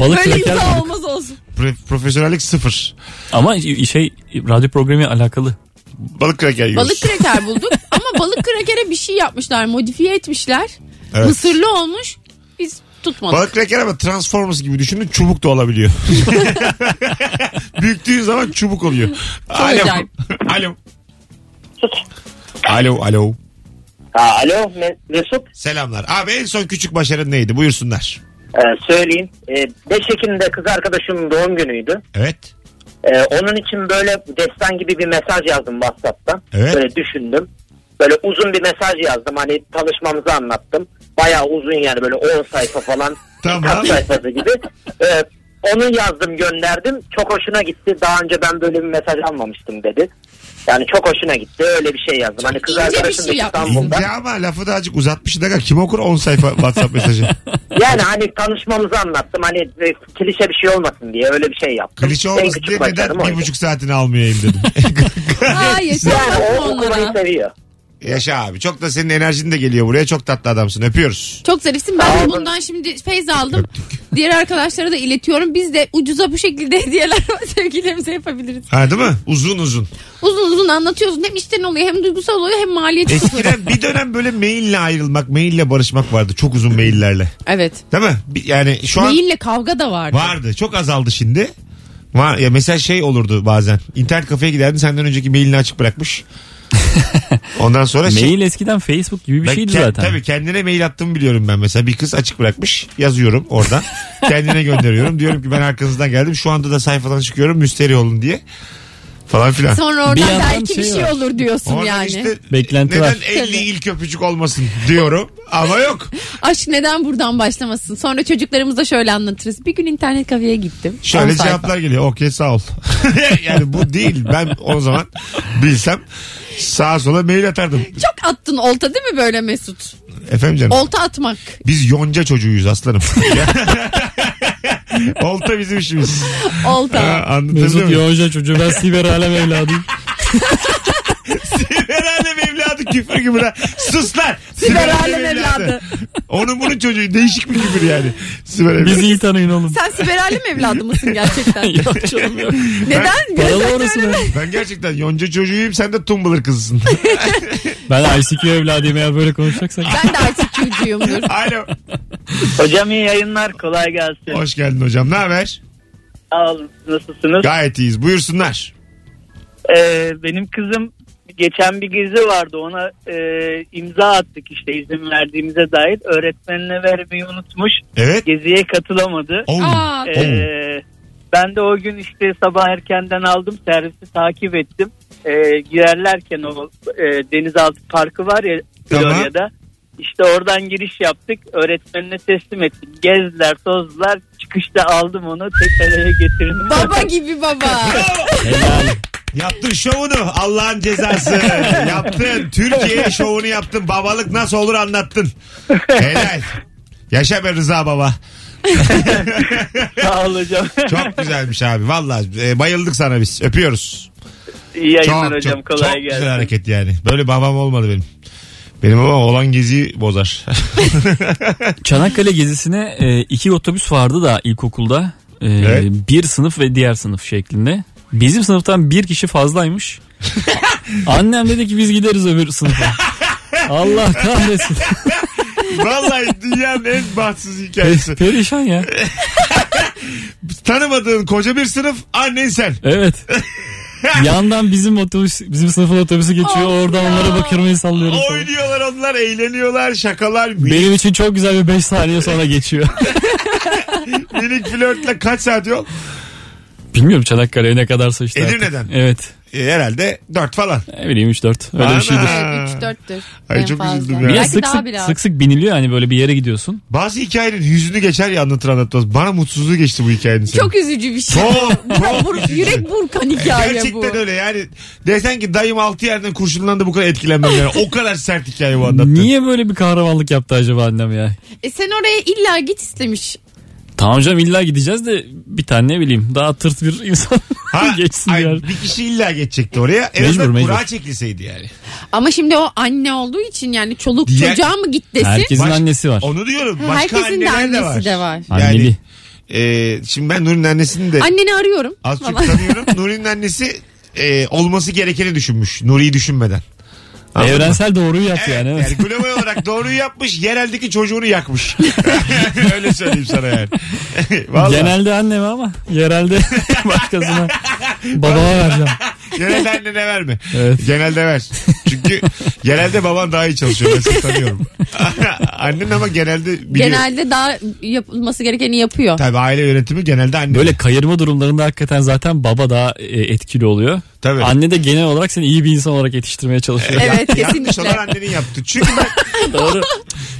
Balık
Böyle
kraker
imza
balık.
olmaz olsun.
Pro- profesyonellik sıfır.
Ama şey radyo programı alakalı.
Balık kraker yiyoruz.
Balık kraker bulduk ama balık krakere bir şey yapmışlar. Modifiye etmişler.
Evet.
Mısırlı olmuş. Biz tutmadık.
Balık kraker ama Transformers gibi düşünün çubuk da olabiliyor. Büktüğün zaman çubuk oluyor. alo.
acayip.
alo. Alo alo.
Ha, alo Me- Mesut
Selamlar. Abi en son küçük başarın neydi? Buyursunlar.
Ee, söyleyeyim. Ee, 5 Ekim'de kız arkadaşımın doğum günüydü.
Evet.
Ee, onun için böyle destan gibi bir mesaj yazdım WhatsApp'tan.
Evet.
Böyle düşündüm. Böyle uzun bir mesaj yazdım. Hani tanışmamızı anlattım. Bayağı uzun yani böyle 10 sayfa falan.
Tamam.
Kaç sayfası gibi. Ee, onu yazdım gönderdim. Çok hoşuna gitti. Daha önce ben böyle bir mesaj almamıştım dedi. Yani çok hoşuna gitti. Öyle bir şey yazdım. Hani kız
ince bir
arkadaşım
şey
da
yapmışsın.
İstanbul'da.
İnce ama lafı da azıcık uzatmış. Dakika kim okur 10 sayfa WhatsApp mesajı?
Yani hani tanışmamızı anlattım. Hani e, klişe bir şey olmasın diye öyle bir şey yaptım.
Klişe
En
olmasın
küçük
diye
başarım
neden bir
oydu.
buçuk saatini almayayım dedim.
Hayır sen
Yani
bakma
o okumayı
onlara.
seviyor.
Yaşa abi. Çok da senin enerjin de geliyor buraya. Çok tatlı adamsın. Öpüyoruz.
Çok zarifsin. Ben de bundan şimdi feyz aldım. Diğer arkadaşlara da iletiyorum. Biz de ucuza bu şekilde hediyeler sevgililerimize yapabiliriz.
Ha değil mi? Uzun uzun.
Uzun uzun anlatıyorsun. Hem işten oluyor hem duygusal oluyor hem maliyeti oluyor.
Eskiden bir dönem böyle maille ayrılmak, maille barışmak vardı. Çok uzun maillerle.
Evet.
Değil mi? Bir- Yani şu an
Beyinle kavga da vardı.
vardı. Çok azaldı şimdi. Var ya mesela şey olurdu bazen. İnternet kafeye giderdin senden önceki mailini açık bırakmış. Ondan sonra şey
Mail eskiden Facebook gibi bir
Ben
şeydi
ke-
zaten.
Tabii kendine mail attığımı biliyorum ben mesela. Bir kız açık bırakmış. Yazıyorum oradan. kendine gönderiyorum. Diyorum ki ben arkanızdan geldim. Şu anda da sayfadan çıkıyorum. Müsteri olun diye. Falan filan.
Sonra
Bir
oradan
yandan
belki bir
şey
şey
var.
olur diyorsun
Oradan
yani.
işte
Beklenti
neden
var.
50
Tabii.
ilk öpücük olmasın diyorum ama yok.
Aşk neden buradan başlamasın? Sonra çocuklarımıza şöyle anlatırız. Bir gün internet kafeye gittim.
Şöyle
On sayfa.
cevaplar geliyor. Okey sağ ol. yani bu değil. Ben o zaman bilsem sağa sola mail atardım.
Çok attın olta değil mi böyle Mesut?
Efendim canım.
Olta atmak.
Biz yonca çocuğuyuz aslanım. Olta bizim işimiz. Ha,
Olta.
Anlatabiliyor
Mesut
muyum?
Yonca çocuğu ben siber alem evladıyım.
Siber alem evladı küfür gibi lan. Sus lan.
Siber alem evladı.
Onun bunun çocuğu. Değişik bir küfür yani. Siber alem
Bizi iyi tanıyın oğlum.
Sen siberali mi evladı mısın gerçekten?
Yok canım yok.
Neden?
Paralı orası be.
Ben gerçekten yonca çocuğuyum sen de tumbler kızısın.
Ben ICQ evladıyım eğer böyle konuşacaksak.
Ben de artık çocuğumdur.
Alo.
Hocam iyi yayınlar kolay gelsin.
Hoş geldin hocam. Ne haber?
Sağ olun, nasılsınız?
Gayet iyiyiz. Buyursunlar.
Ee, benim kızım geçen bir gezi vardı ona e, imza attık işte izin verdiğimize dair. Öğretmenine vermeyi unutmuş
Evet.
geziye katılamadı.
Oh.
Aa,
Ee, ben de o gün işte sabah erkenden aldım servisi takip ettim. Ee, girerlerken o e, denizaltı parkı var ya
Tamam.
Florya'da. İşte oradan giriş yaptık. Öğretmenine teslim ettik. Gezdiler, tozdular. Çıkışta aldım onu. Tekrar eve getirdim.
Baba gibi baba.
Yaptın şovunu Allah'ın cezası. yaptın. Türkiye şovunu yaptın. Babalık nasıl olur anlattın. Helal. Yaşa be Rıza baba.
Sağ ol hocam.
Çok güzelmiş abi. Valla bayıldık sana biz. Öpüyoruz.
İyi yayınlar
çok,
hocam.
çok,
kolay
çok
gelsin.
güzel hareket yani. Böyle babam olmadı benim. Benim babam olan geziyi bozar.
Çanakkale gezisine e, iki otobüs vardı da ilkokulda. E,
Evet.
Bir sınıf ve diğer sınıf şeklinde. Bizim sınıftan bir kişi fazlaymış. Annem dedi ki biz gideriz öbür sınıfa. Allah kahretsin.
Vallahi dünyanın en bahtsız hikayesi.
Pe- Perişan ya.
Tanımadığın koca bir sınıf annen sen.
Evet. Yandan bizim otobüs, bizim sınıfın otobüsü geçiyor. Oradan onlara bakırmayı sallıyoruz. falan.
Oynuyorlar onlar, eğleniyorlar, şakalar, minik,
Benim için çok güzel bir 5 saniye sonra geçiyor.
minik flörtle kaç saat yol?
Bilmiyorum Çanakkale'ye ne kadarsa işte. artık.
Edirne'den.
Evet.
E, herhalde 4 falan.
Ne bileyim 3-4. Öyle
Ana.
bir şeydir.
Ha.
3-4'tür.
Ay,
en
çok
fazla.
üzüldüm ya.
Bir de
Belki
sık
daha
sık,
bile.
sık sık biniliyor hani böyle bir yere gidiyorsun.
Bazı hikayenin yüzünü geçer ya anlatır anlatmaz. Bana mutsuzluğu geçti bu hikayenin. senin.
Çok üzücü bir şey.
Çok, çok
Bur-
üzücü.
yürek burkan hikaye bu.
Gerçekten öyle yani. Desen ki dayım altı yerden kurşunlandı bu kadar etkilenmem yani. O kadar sert hikaye bu anlattığın.
Niye böyle bir kahramanlık yaptı acaba annem ya?
E sen oraya illa git istemiş.
Tamam canım illa gideceğiz de bir tane ne bileyim daha tırt bir insan
Ha,
geçsin
ay,
ya.
bir kişi illa geçecekti oraya. En
Mecbur,
azından
mecbur.
kura çekilseydi yani.
Ama şimdi o anne olduğu için yani çoluk
Diğer-
çocuğa mı git desin?
Herkesin
Baş-
annesi var.
Onu diyorum.
Ha,
Başka
herkesin de
anneler
annesi de var.
Yani,
Anneli.
e, şimdi ben Nuri'nin annesini de
Anneni arıyorum.
az çok
Falan.
tanıyorum. Nuri'nin annesi e, olması gerekeni düşünmüş. Nuri'yi düşünmeden. Anladın mı?
Evrensel doğruyu yap
Evet,
yani.
yani,
evet.
global olarak doğruyu yapmış, yereldeki çocuğunu yakmış. Öyle söyleyeyim sana yani. Vallahi.
Genelde anneme ama yerelde başkasına babama vereceğim.
Genelde annene verme.
Evet.
Genelde ver. Çünkü genelde baban daha iyi çalışıyor. Ben seni tanıyorum. Annen ama genelde biliyor.
Genelde daha yapılması gerekeni yapıyor.
Tabii aile yönetimi genelde anne.
Böyle kayırma durumlarında hakikaten zaten baba daha e, etkili oluyor.
Tabii.
Anne de genel olarak seni iyi bir insan olarak yetiştirmeye çalışıyor.
Evet
Yanlış olan
kesinlikle.
annenin yaptı. Çünkü ben
Doğru.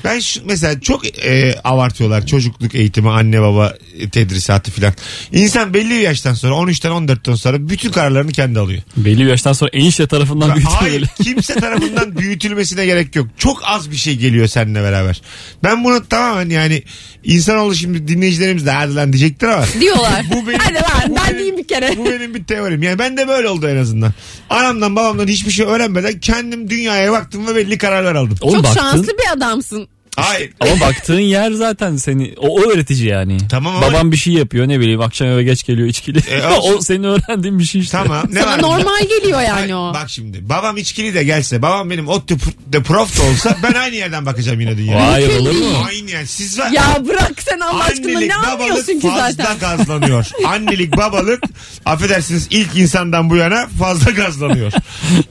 Ben şu, mesela çok e, avartıyorlar çocukluk eğitimi, anne baba e, tedrisatı filan. İnsan belli bir yaştan sonra 13'ten 14'ten sonra bütün kararlarını kendi alıyor.
Belli bir yaştan sonra enişte tarafından büyütüyor
Hayır
böyle.
kimse tarafından büyütülmesine gerek yok. Çok az bir şey geliyor seninle beraber. Ben bunu tamamen yani insanoğlu şimdi dinleyicilerimiz de hadi lan diyecektir ama.
Diyorlar.
Bu benim-
Hadi lan
bu benim-
ben diyeyim bir kere.
Bu benim bir teorim. Yani ben de böyle oldu en azından. Anamdan babamdan hiçbir şey öğrenmeden kendim dünyaya baktım ve belli kararlar aldım.
Oğlum
Çok
baktın-
şanslı bir adamsın.
Hayır.
Ama baktığın yer zaten seni o, o öğretici yani.
Tamam ama-
Babam bir şey yapıyor ne bileyim akşam eve geç geliyor içkili.
E, olsun.
o senin öğrendiğin bir şey işte.
Tamam. Ne
Sana
var bunda?
normal geliyor
Ay,
yani o.
Bak şimdi babam içkili de gelse babam benim ot de prof da olsa ben aynı yerden bakacağım yine dünyaya.
Hayır olur mu?
aynı yer. Siz var.
Ya bırak sen Allah aşkına ne anlıyorsun ki
fazla
zaten?
gazlanıyor. Annelik babalık affedersiniz ilk insandan bu yana fazla gazlanıyor.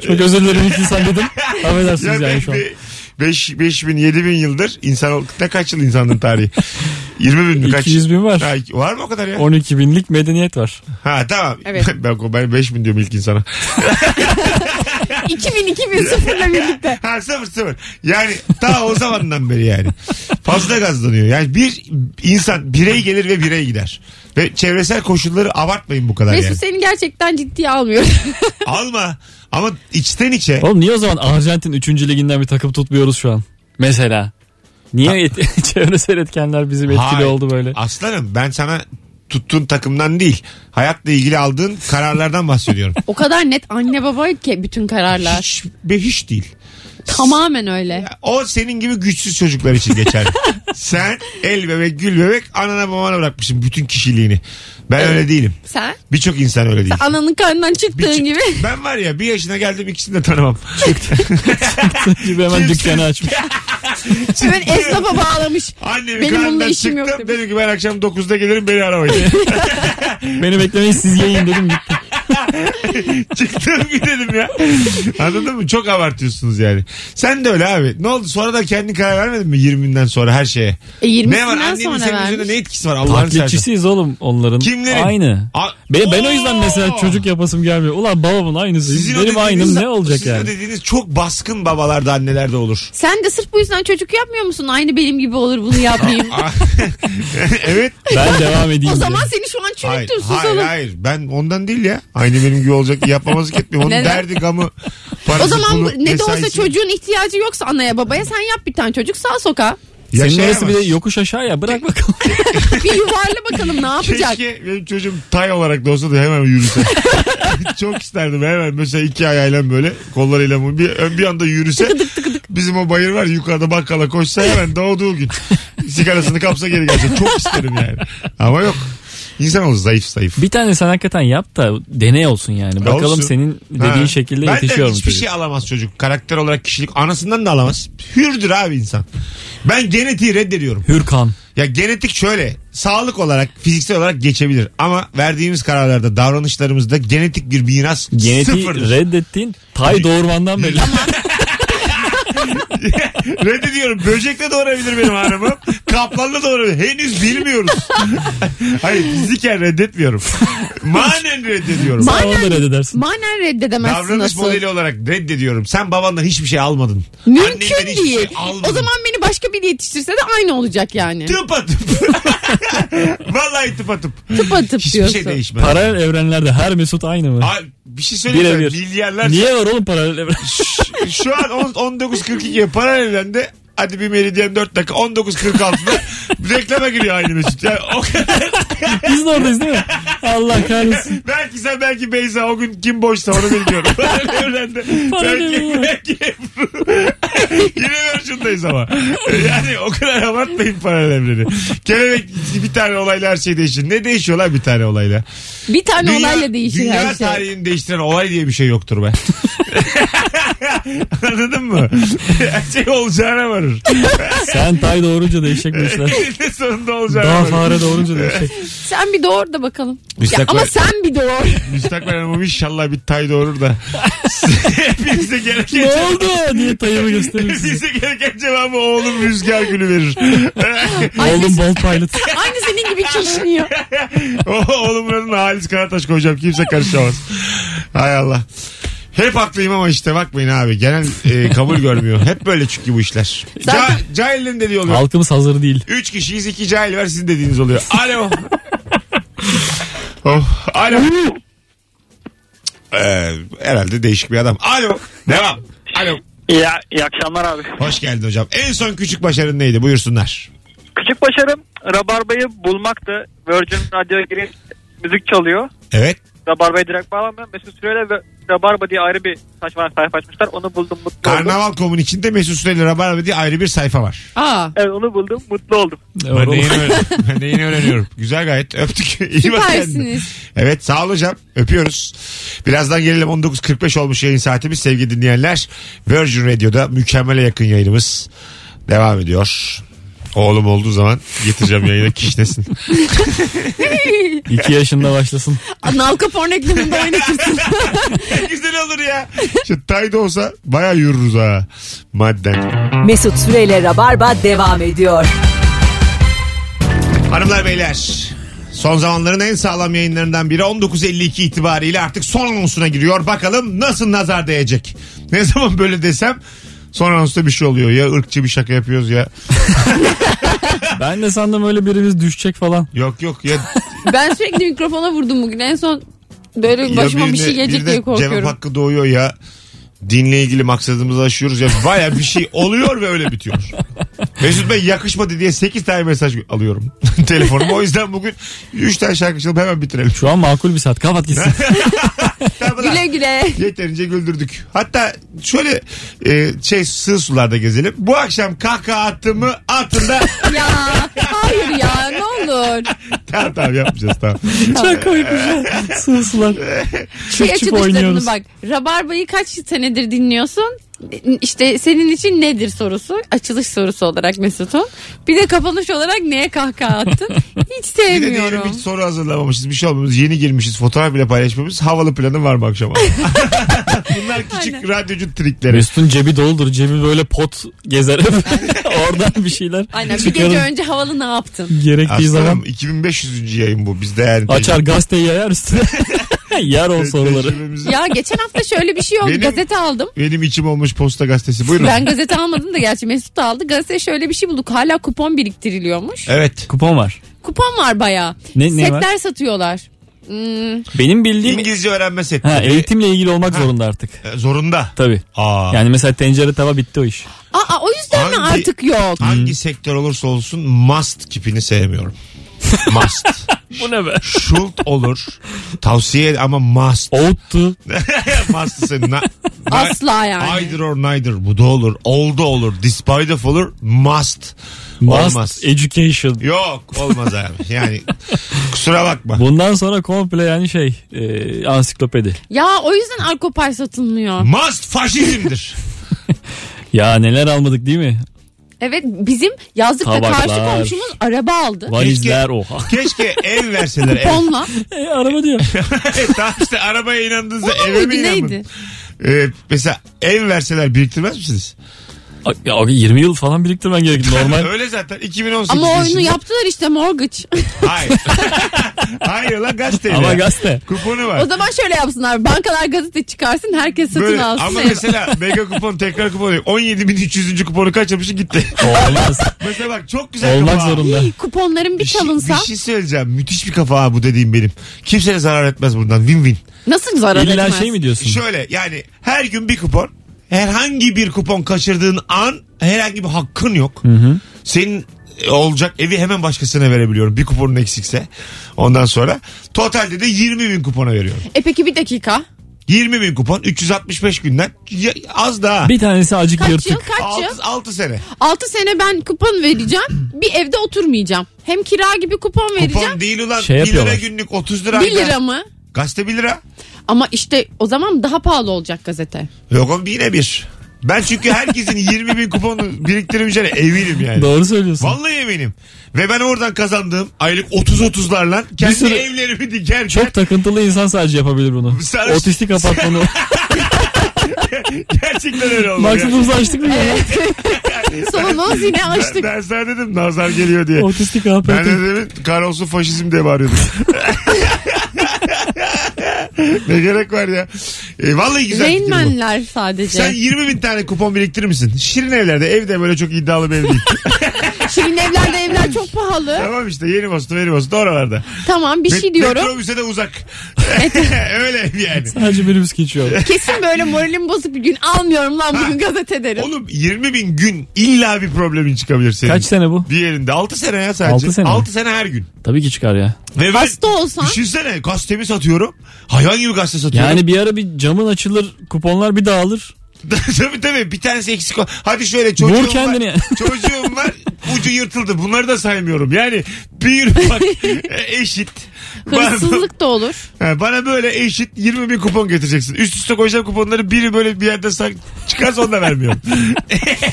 Çok özür dilerim ilk insan dedim. Affedersiniz yani şu an.
5 bin 7 bin yıldır insan ne kaç yıl insanlığın tarihi? 20 bin mi kaç?
200 bin var.
Ha, var mı o kadar ya?
12 binlik medeniyet var.
Ha tamam.
Evet.
Ben, ben 5 bin diyorum ilk insana.
2000 2000 sıfırla birlikte.
Ha sıfır sıfır. Yani ta o zamandan beri yani. Fazla gazlanıyor. Yani bir insan birey gelir ve birey gider. Ve çevresel koşulları abartmayın bu kadar yani.
Mesut seni gerçekten ciddiye almıyor.
Alma. Ama içten içe.
Oğlum niye o zaman Arjantin 3. liginden bir takım tutmuyoruz şu an? Mesela. Niye et- çevresel etkenler bizim etkili
Hayır.
oldu böyle?
Aslanım ben sana tuttuğun takımdan değil. Hayatla ilgili aldığın kararlardan bahsediyorum.
o kadar net anne baba ki bütün kararlar.
hiç, ve hiç değil.
Tamamen öyle.
O senin gibi güçsüz çocuklar için geçerli. Sen el bebek gül bebek anana babana bırakmışsın bütün kişiliğini. Ben öyle değilim.
Sen
Birçok insan öyle değil.
ananın karnından
Bir
çıktığın
çık-
gibi.
Ben var ya bir yaşına geldim ikisini de tanımam.
Gibi hemen dükkanı açmış.
Hemen esnafa bağlamış.
Annemin
Benim bununla
karnından
işim
çıktım
yok
dedim ki ben akşam 9'da gelirim beni aramayın.
Beni beklemeyin siz yiyin dedim gitti.
Çıktım gidelim ya. Anladın mı? Çok abartıyorsunuz yani. Sen de öyle abi. Ne oldu? Sonra da kendin karar vermedin mi 20'den sonra her şeye?
E, 20'sinden
ne var? Annenin
sonra
senin
vermiş.
üzerinde ne etkisi var? Allah'ını seversen.
Taklitçisiyiz oğlum onların.
Kimlerin?
Aynı.
A-
Ben, ben o yüzden
Oo!
mesela çocuk yapasım gelmiyor. Ulan babamın aynısıyım.
Sizin o
Benim aynım
dediğiniz-
ne olacak
sizin o
yani?
dediğiniz çok baskın babalarda annelerde olur.
Sen de sırf bu yüzden çocuk yapmıyor musun? Aynı benim gibi olur bunu yapmayayım.
evet.
Ben devam edeyim.
o zaman
diye.
seni şu an
Hayır,
çürüttüm sus
hayır,
oğlum.
hayır. Ben ondan değil ya. Aynı benim gibi olacak diye yapmamazlık etmiyorum. Onun
Neden?
derdi, gamı,
O
parası,
zaman
pulu,
bu- ne de olsa
mesaisi.
çocuğun ihtiyacı yoksa anaya babaya sen yap bir tane çocuk sağ sokağa.
Senin
Yaşayamaz.
orası bir de yokuş aşağı ya bırak bakalım.
Bir yuvarla bakalım ne yapacak.
Keşke benim çocuğum tay olarak da olsa da hemen yürüse. Çok isterdim hemen mesela iki ayağıyla böyle kollarıyla bu- bir, bir anda yürüse. Bizim o bayır var yukarıda bakkala koşsa hemen doğduğu gün. Sigarasını kapsa geri gelecek. Çok isterim yani. Ama yok. İnsan olur zayıf zayıf.
Bir tane sen hakikaten yap da deney olsun yani. Bakalım
Olsun.
senin dediğin
Ha.
şekilde
Benden
yetişiyor mu
hiçbir
çocuk?
şey alamaz çocuk. Karakter olarak kişilik anasından da alamaz. Hürdür abi insan. Ben genetiği reddediyorum.
Hürkan.
Ya genetik şöyle sağlık olarak fiziksel olarak geçebilir ama verdiğimiz kararlarda davranışlarımızda genetik bir miras
Genetiği
sıfırdır.
reddettiğin Tay doğurmandan belli.
Reddediyorum böcekle doğurabilir benim hanımım kaplanla doğurabilir henüz bilmiyoruz. Hayır fiziken reddetmiyorum manen reddediyorum.
Sen
Manen-
onu da reddedersin.
Manen reddedemezsin
Davranış
nasıl.
modeli olarak reddediyorum. Sen babandan hiçbir şey almadın. Annenden
Mümkün
hiçbir
değil.
Şey almadın.
o zaman beni başka biri yetiştirse de aynı olacak yani.
tıp atıp. Vallahi tıp atıp.
Tıp atıp
Hiçbir
diyorsun.
şey değişmez.
Paralel evrenlerde her Mesut aynı mı?
Ay, bir şey söyleyeyim mi?
Birebir.
Milyarlarca
Niye var oğlum paralel evren?
Şu an on- 19.42'ye paralelden de hadi bir meridyen 4 dakika 19.46'da reklama giriyor aynı Mesut. Yani o kadar.
Biz de oradayız değil mi? Allah kahretsin.
belki sen belki Beyza o gün kim boşsa onu bilmiyorum. Paralelden de. belki
Paralelden.
belki Ebru. Yine versiyondayız ama. Yani o kadar abartmayın paralel evreni. Kelebek bir tane olayla her şey değişir. Ne değişiyor lan bir tane olayla?
Bir tane olayla değişir
dünya
her şey.
tarihini değiştiren olay diye bir şey yoktur be. Anladın mı? Her şey olacağına varır.
Sen tay doğurunca değişecek bu işler.
Eninde sonunda olacağına
Daha
varır.
fare doğurunca değişecek.
Sen bir doğur da bakalım.
Müstakbel-
Ya ama sen bir doğur.
Müstakbel Hanım'ım inşallah bir tay doğurur da. Hepinize gereken
ne oldu diye tayımı gösterir size.
Hepinize gereken cevabı oğlum rüzgar gülü verir.
Oğlum bol pilot.
Aynı senin gibi kişniyor.
O- Oğlumun adını Halis Karataş koyacağım. Kimse karışamaz. Hay Allah. Hep haklıyım ama işte bakmayın abi. Genel e, kabul görmüyor. Hep böyle çünkü bu işler. Ca- cahillerin dediği oluyor.
Halkımız hazır değil.
Üç kişiyiz iki cahil var sizin dediğiniz oluyor. Alo. oh, alo. Ee, herhalde değişik bir adam. Alo. Devam. Alo.
İyi, iyi akşamlar abi.
Hoş geldin hocam. En son küçük başarın neydi? Buyursunlar.
Küçük başarım Rabarba'yı bulmaktı. Virgin Radyo'ya girip müzik çalıyor.
Evet.
Rabarba'ya direkt bağlanmıyor. Mesut Süreyle ve Rabarba diye ayrı bir saçma sayfa açmışlar. Onu buldum mutlu oldum.
Karnaval komun içinde Mesut Süreyli Rabarba diye ayrı bir sayfa var.
Aa,
Evet onu buldum mutlu oldum.
Ben de yeni, öğren- ben de yeni öğreniyorum. Güzel gayet. Öptük. İyi bak kendine.
Süpersiniz.
Evet sağ ol hocam. Öpüyoruz. Birazdan gelelim 19.45 olmuş yayın saatimiz sevgili dinleyenler. Virgin Radio'da mükemmele yakın yayınımız devam ediyor. Oğlum olduğu zaman getireceğim yayına kişnesin.
2 yaşında başlasın.
Nalka porn ekleminde oynatırsın.
Ne Güzel olur ya. Şu tay da olsa baya yürürüz ha. Madden.
Mesut Süreyle Rabarba devam ediyor.
Hanımlar beyler. Son zamanların en sağlam yayınlarından biri 19.52 itibariyle artık son anonsuna giriyor. Bakalım nasıl nazar değecek. Ne zaman böyle desem son anonsta bir şey oluyor. Ya ırkçı bir şaka yapıyoruz ya.
Ben de sandım öyle birimiz düşecek falan.
Yok yok ya
ben sürekli mikrofona vurdum bugün. En son böyle
Ya
başıma bir
birine-
şey gelecek
birine
diye korkuyorum.
Cevap hakkı doğuyor ya. Dinle ilgili maksadımızı aşıyoruz ya. Baya bir şey oluyor ve öyle bitiyor. Mesut Bey yakışmadı diye 8 tane mesaj alıyorum telefonuma. O yüzden bugün 3 tane şarkı çalıp hemen bitirelim.
Şu an makul bir saat. Kapat gitsin.
Tamam lan.
Güle güle.
Yeterince güldürdük. Hatta şöyle e, şey sığ sularda gezelim. Bu akşam kahkaha attığımı altında
ya hayır ya ne olur.
tamam tamam yapmayacağız tamam.
Çok koymuş. Sığsılar.
Şey
Çıp çıp
açılışlarını
oynuyoruz.
bak. Rabarbayı kaç senedir dinliyorsun? işte senin için nedir sorusu açılış sorusu olarak Mesut'un. Bir de kapanış olarak neye kahkaha attın? Hiç
Bir de diyelim
sevmiyorum.
hiç soru hazırlamamışız. Bir şey olmamış. Yeni girmişiz. Fotoğraf bile paylaşmamışız. Havalı planın var mı akşama? Bunlar küçük radyocu trikleri.
Mesut'un cebi doludur. Cebi böyle pot gezer. Oradan bir şeyler
Aynen bir
çıkarır.
gece önce havalı ne yaptın?
Gerektiği
Aslanım
zaman
2500. yayın bu. Biz de yani.
açar gazeteyi yayar üstüne. Yer o
Te-
soruları.
tecrübemizi-
Ya geçen hafta şöyle bir şey oldu.
Benim-
Gazete aldım.
Benim içim olmuş posta gazetesi. Buyurun.
Ben gazete almadım da gerçi Mesut da aldı. Gazete şöyle bir şey bulduk. Hala kupon biriktiriliyormuş.
Evet.
Kupon var.
Kupon var bayağı.
Ne- ne
Setler satıyorlar. Hmm,
Benim bildiğim
İngilizce öğrenme seti.
ha, eğitimle ilgili olmak
Ha.
zorunda artık.
E, Zorunda.
Tabii.
Aa.
Yani mesela tencere tava bitti o iş.
Aa, o yüzden mi
Hangi-
artık yok?
Hangi sektör olursa olsun must kipini sevmiyorum. must.
Bu ne be?
Şult olur. Tavsiye ama must.
Oğuttu.
Must'ı sen. Na, na-
Asla yani.
Either or neither. Bu da olur. Oldu olur. Despite of olur. Must.
Must
Olmaz.
education.
Yok olmaz abi. Yani kusura bakma.
Bundan sonra komple yani şey e, ansiklopedi.
Ya o yüzden Arkopay satılmıyor.
Must faşizmdir.
Ya neler almadık değil mi?
Evet bizim yazlıkta karşı
Tabaklar.
komşumuz araba aldı.
Valizler oha.
Keşke ev verseler. ev. E,
Kuponla.
E, araba diyor.
tamam işte arabaya inandınız
Onun
eve mi
muydu,
inandın?
neydi?
Ee, mesela ev verseler biriktirmez misiniz?
A- Ya, abi 20 yıl falan biriktirmen gerekir normal.
Öyle zaten 2018
Ama oyunu
yaşında-
yaptılar işte mortgage.
Hayır. Hayır la gazeteyle.
Ama gazete.
Kuponu
o
var.
zaman şöyle yapsınlar. Bankalar gazete çıkarsın herkes satın
Böyle,
alsın.
ama
Evet.
mesela mega kupon tekrar kupon yok. 17.300. kuponu kaçırmışsın gitti.
Olmaz.
mesela bak çok güzel
Olmak
kafa.
zorunda.
İyi, kuponların bir
şey-
çalınsa
bir şey söyleyeceğim. Müthiş bir kafa ha bu dediğim benim. Kimseye zarar etmez bundan. Win win.
nasıl zarar
İlla
etmez?
şey mi diyorsun?
Şöyle yani her gün bir kupon. Herhangi bir kupon kaçırdığın an herhangi bir hakkın yok. Senin e, olacak evi hemen başkasına verebiliyorum. Bir kuponun eksikse. Ondan sonra totalde de 20 bin kupona veriyorum.
E peki bir dakika.
20 bin kupon 365 günden Ya- az daha.
Bir tanesi acık
Kaç yıl
yırtık.
kaç yıl?
6, sene.
6 sene ben kupon vereceğim. Bir evde oturmayacağım. Hem kira gibi kupon vereceğim.
Kupon değil ulan
Şey
1 lira
yapıyorlar.
günlük 30 lira.
1
ayda.
lira mı?
Gazete 1 lira.
Ama işte o zaman daha pahalı olacak gazete.
Yok oğlum yine bir. Ben çünkü herkesin 20 bin kuponu biriktirmeyeceğine eminim yani.
Doğru söylüyorsun.
Vallahi eminim. Ve ben oradan kazandığım aylık 30-30'larla kendi
sürü-
evlerimi dikerken
Çok takıntılı insan sadece yapabilir bunu.
Sen-
Otistik apartmanı.
gerçekten öyle oldu. ya.
Maksimumuzu açtık mı? ya?
Solomon yine
Ben,
açtık.
ben sana dedim nazar geliyor diye.
Otistik
Ben de
apartmanı.
demin kahrolsun faşizm diye bağırıyordum. ne gerek var ya. E, vallahi güzel fikir bu.
Reynmenler sadece.
Sen 20 bin tane kupon biriktirir misin? Şirin evlerde evde böyle çok iddialı bir ev değil.
Şirin evlerde evler çok pahalı.
tamam işte yeni bastı yeni bastı oralarda.
tamam bir şey
Me-
diyorum.
Metrobüse de uzak. Öyle yani.
Sadece minibüs geçiyor.
Kesin böyle moralim bozuk bir gün almıyorum lan bugün gazete derim.
Oğlum 20 bin gün illa bir problemin çıkabilir senin.
Kaç sene bu?
Diğerinde 6 sene ya sadece. 6
Altı
sene,
sene mi?
her gün.
Tabii ki çıkar ya.
Ve ben
Hasta olsan
düşünsene gazetemi satıyorum. Hayvan gibi gazete satıyorum.
Yani bir ara bir camın açılır, kuponlar bir dağılır.
tabii tabii bir tanesi eksik. ol- Hadi şöyle çocuğum
Vur
var.
kendini.
çocuğum var ucu yırtıldı. Bunları da saymıyorum. Yani bir bak e, eşit. Bana,
hırsızlık da olur.
Ha, bana böyle eşit 20 bin kupon getireceksin. Üst üste koyacağım kuponları biri böyle bir yerde sak çıkarsa onu da vermiyorum.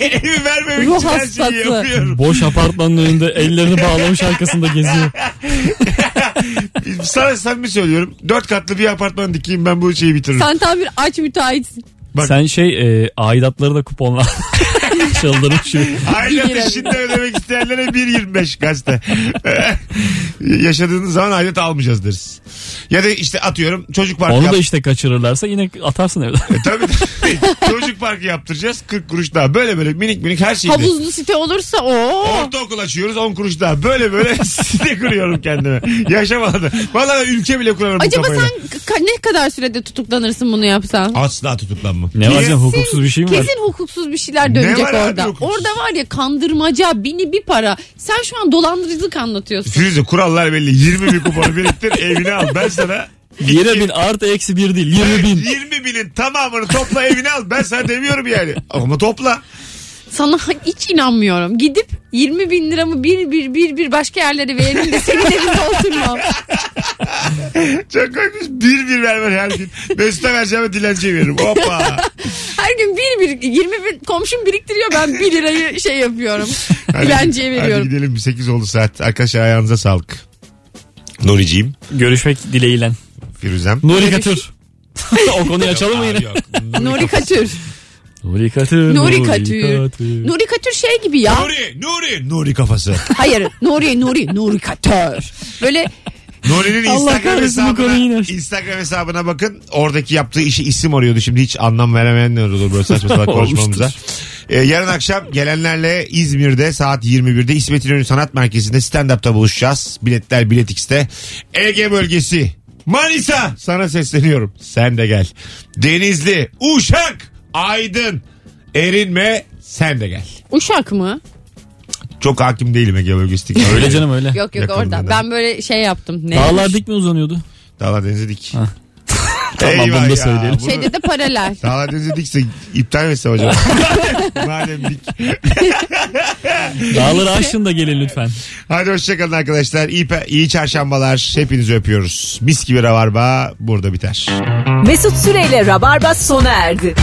Evi vermemek
Ruh
için her şeyi
hastası.
yapıyorum.
Boş apartmanın önünde ellerini bağlamış arkasında geziyor.
Sana samimi söylüyorum. Dört katlı bir apartman dikeyim ben bu şeyi bitiririm.
Sen tam bir aç müteahhitsin.
Bak.
Sen şey e, aidatları da kuponla çıldırıp şu.
Aidat
Bir lira.
işinde ödemek isteyenlere 1.25 gazete. Yaşadığınız zaman aidat almayacağız deriz. Ya da işte atıyorum çocuk parkı
Onu
yap-
da işte kaçırırlarsa yine atarsın evden.
E, tabii, tabii. çocuk parkı yaptıracağız 40 kuruş daha. Böyle böyle minik minik her şeyi.
Havuzlu site olursa o.
Ortaokul açıyoruz 10 kuruş daha. Böyle böyle site kuruyorum kendime. Yaşam alanı. Valla ülke bile kurarım
Acaba
bu kafayla.
sen ka- ne kadar sürede tutuklanırsın bunu yapsan?
Asla tutuklanma.
Ne var
Niye?
canım hukuksuz bir şey mi var?
Kesin hukuksuz bir şeyler dönecek
Ne var abi
orada.
hukuksuz?
Orada var ya kandırmaca, bini bir para. Sen şu an dolandırıcılık anlatıyorsun.
Firuze kurallar belli. 20 bin kuponu biriktir evine al. Ben sana
20 bin artı eksi bir değil 20 bin.
20 binin tamamını topla evine al. Ben sana demiyorum yani. Ama topla.
Sana hiç inanmıyorum. Gidip 20 bin liramı bir bir bir bir başka yerlere verelim de senin evinde oturmam.
Çok korkunç. Bir bir vermen her gün. Mesut'a vereceğime dilenciye veririm. Hoppa.
Her gün bir bir 20 bin komşum biriktiriyor ben 1 lirayı şey yapıyorum.
Hadi-
dilenciye
Hadi
veriyorum.
gidelim 8 oldu saat. Arkadaşlar ayağınıza sağlık. Nuriciğim,
Görüşmek dileğiyle.
Firuzem.
Nuri Katür. o konuyu açalım mı
Abi
yine?
yok. Nuri.
Nuri Katür.
Nuri Katür.
Nuri Katür. Nuri Katür şey gibi ya.
Nuri, Nuri, Nuri kafası.
Hayır. Nuri, Nuri, Nuri Katür. Böyle
Nuri'nin
Allah
Instagram
kahretsin bu konuyu yine
hesabına,
açtı.
Instagram hesabına bakın. Oradaki yaptığı işi isim arıyordu. Şimdi hiç anlam veremeyenler olur böyle saçma sapan konuşmamıza. Ee, yarın akşam gelenlerle İzmir'de saat 21'de İsmet İnönü Sanat Merkezi'nde stand-up'ta buluşacağız. Biletler Bilet X'te. Ege bölgesi. Manisa sana sesleniyorum. Sen de gel. Denizli, Uşak, Aydın, Erinme sen de gel.
uşak mı?
Çok hakim değilim Ege bölgesi.
Öyle canım öyle.
Yok yok
Yakın
orada.
neden?
Ben böyle şey yaptım. Ne?
Dağlar dik mi uzanıyordu?
Dağlar denize dik.
Ha. Tamam,
Eyvah
bunu da
ya.
söyleyelim.
Bunu-
Şeyde de paralel.
Dağlar denize dikse iptal mi etsem acaba? Madem dik.
Dağları aşın da gelin lütfen.
Hadi hoşçakalın arkadaşlar. İyi, pe- iyi çarşambalar. Hepinizi öpüyoruz. Mis gibi rabarba burada biter.
Mesut Süreyle Rabarba sona erdi.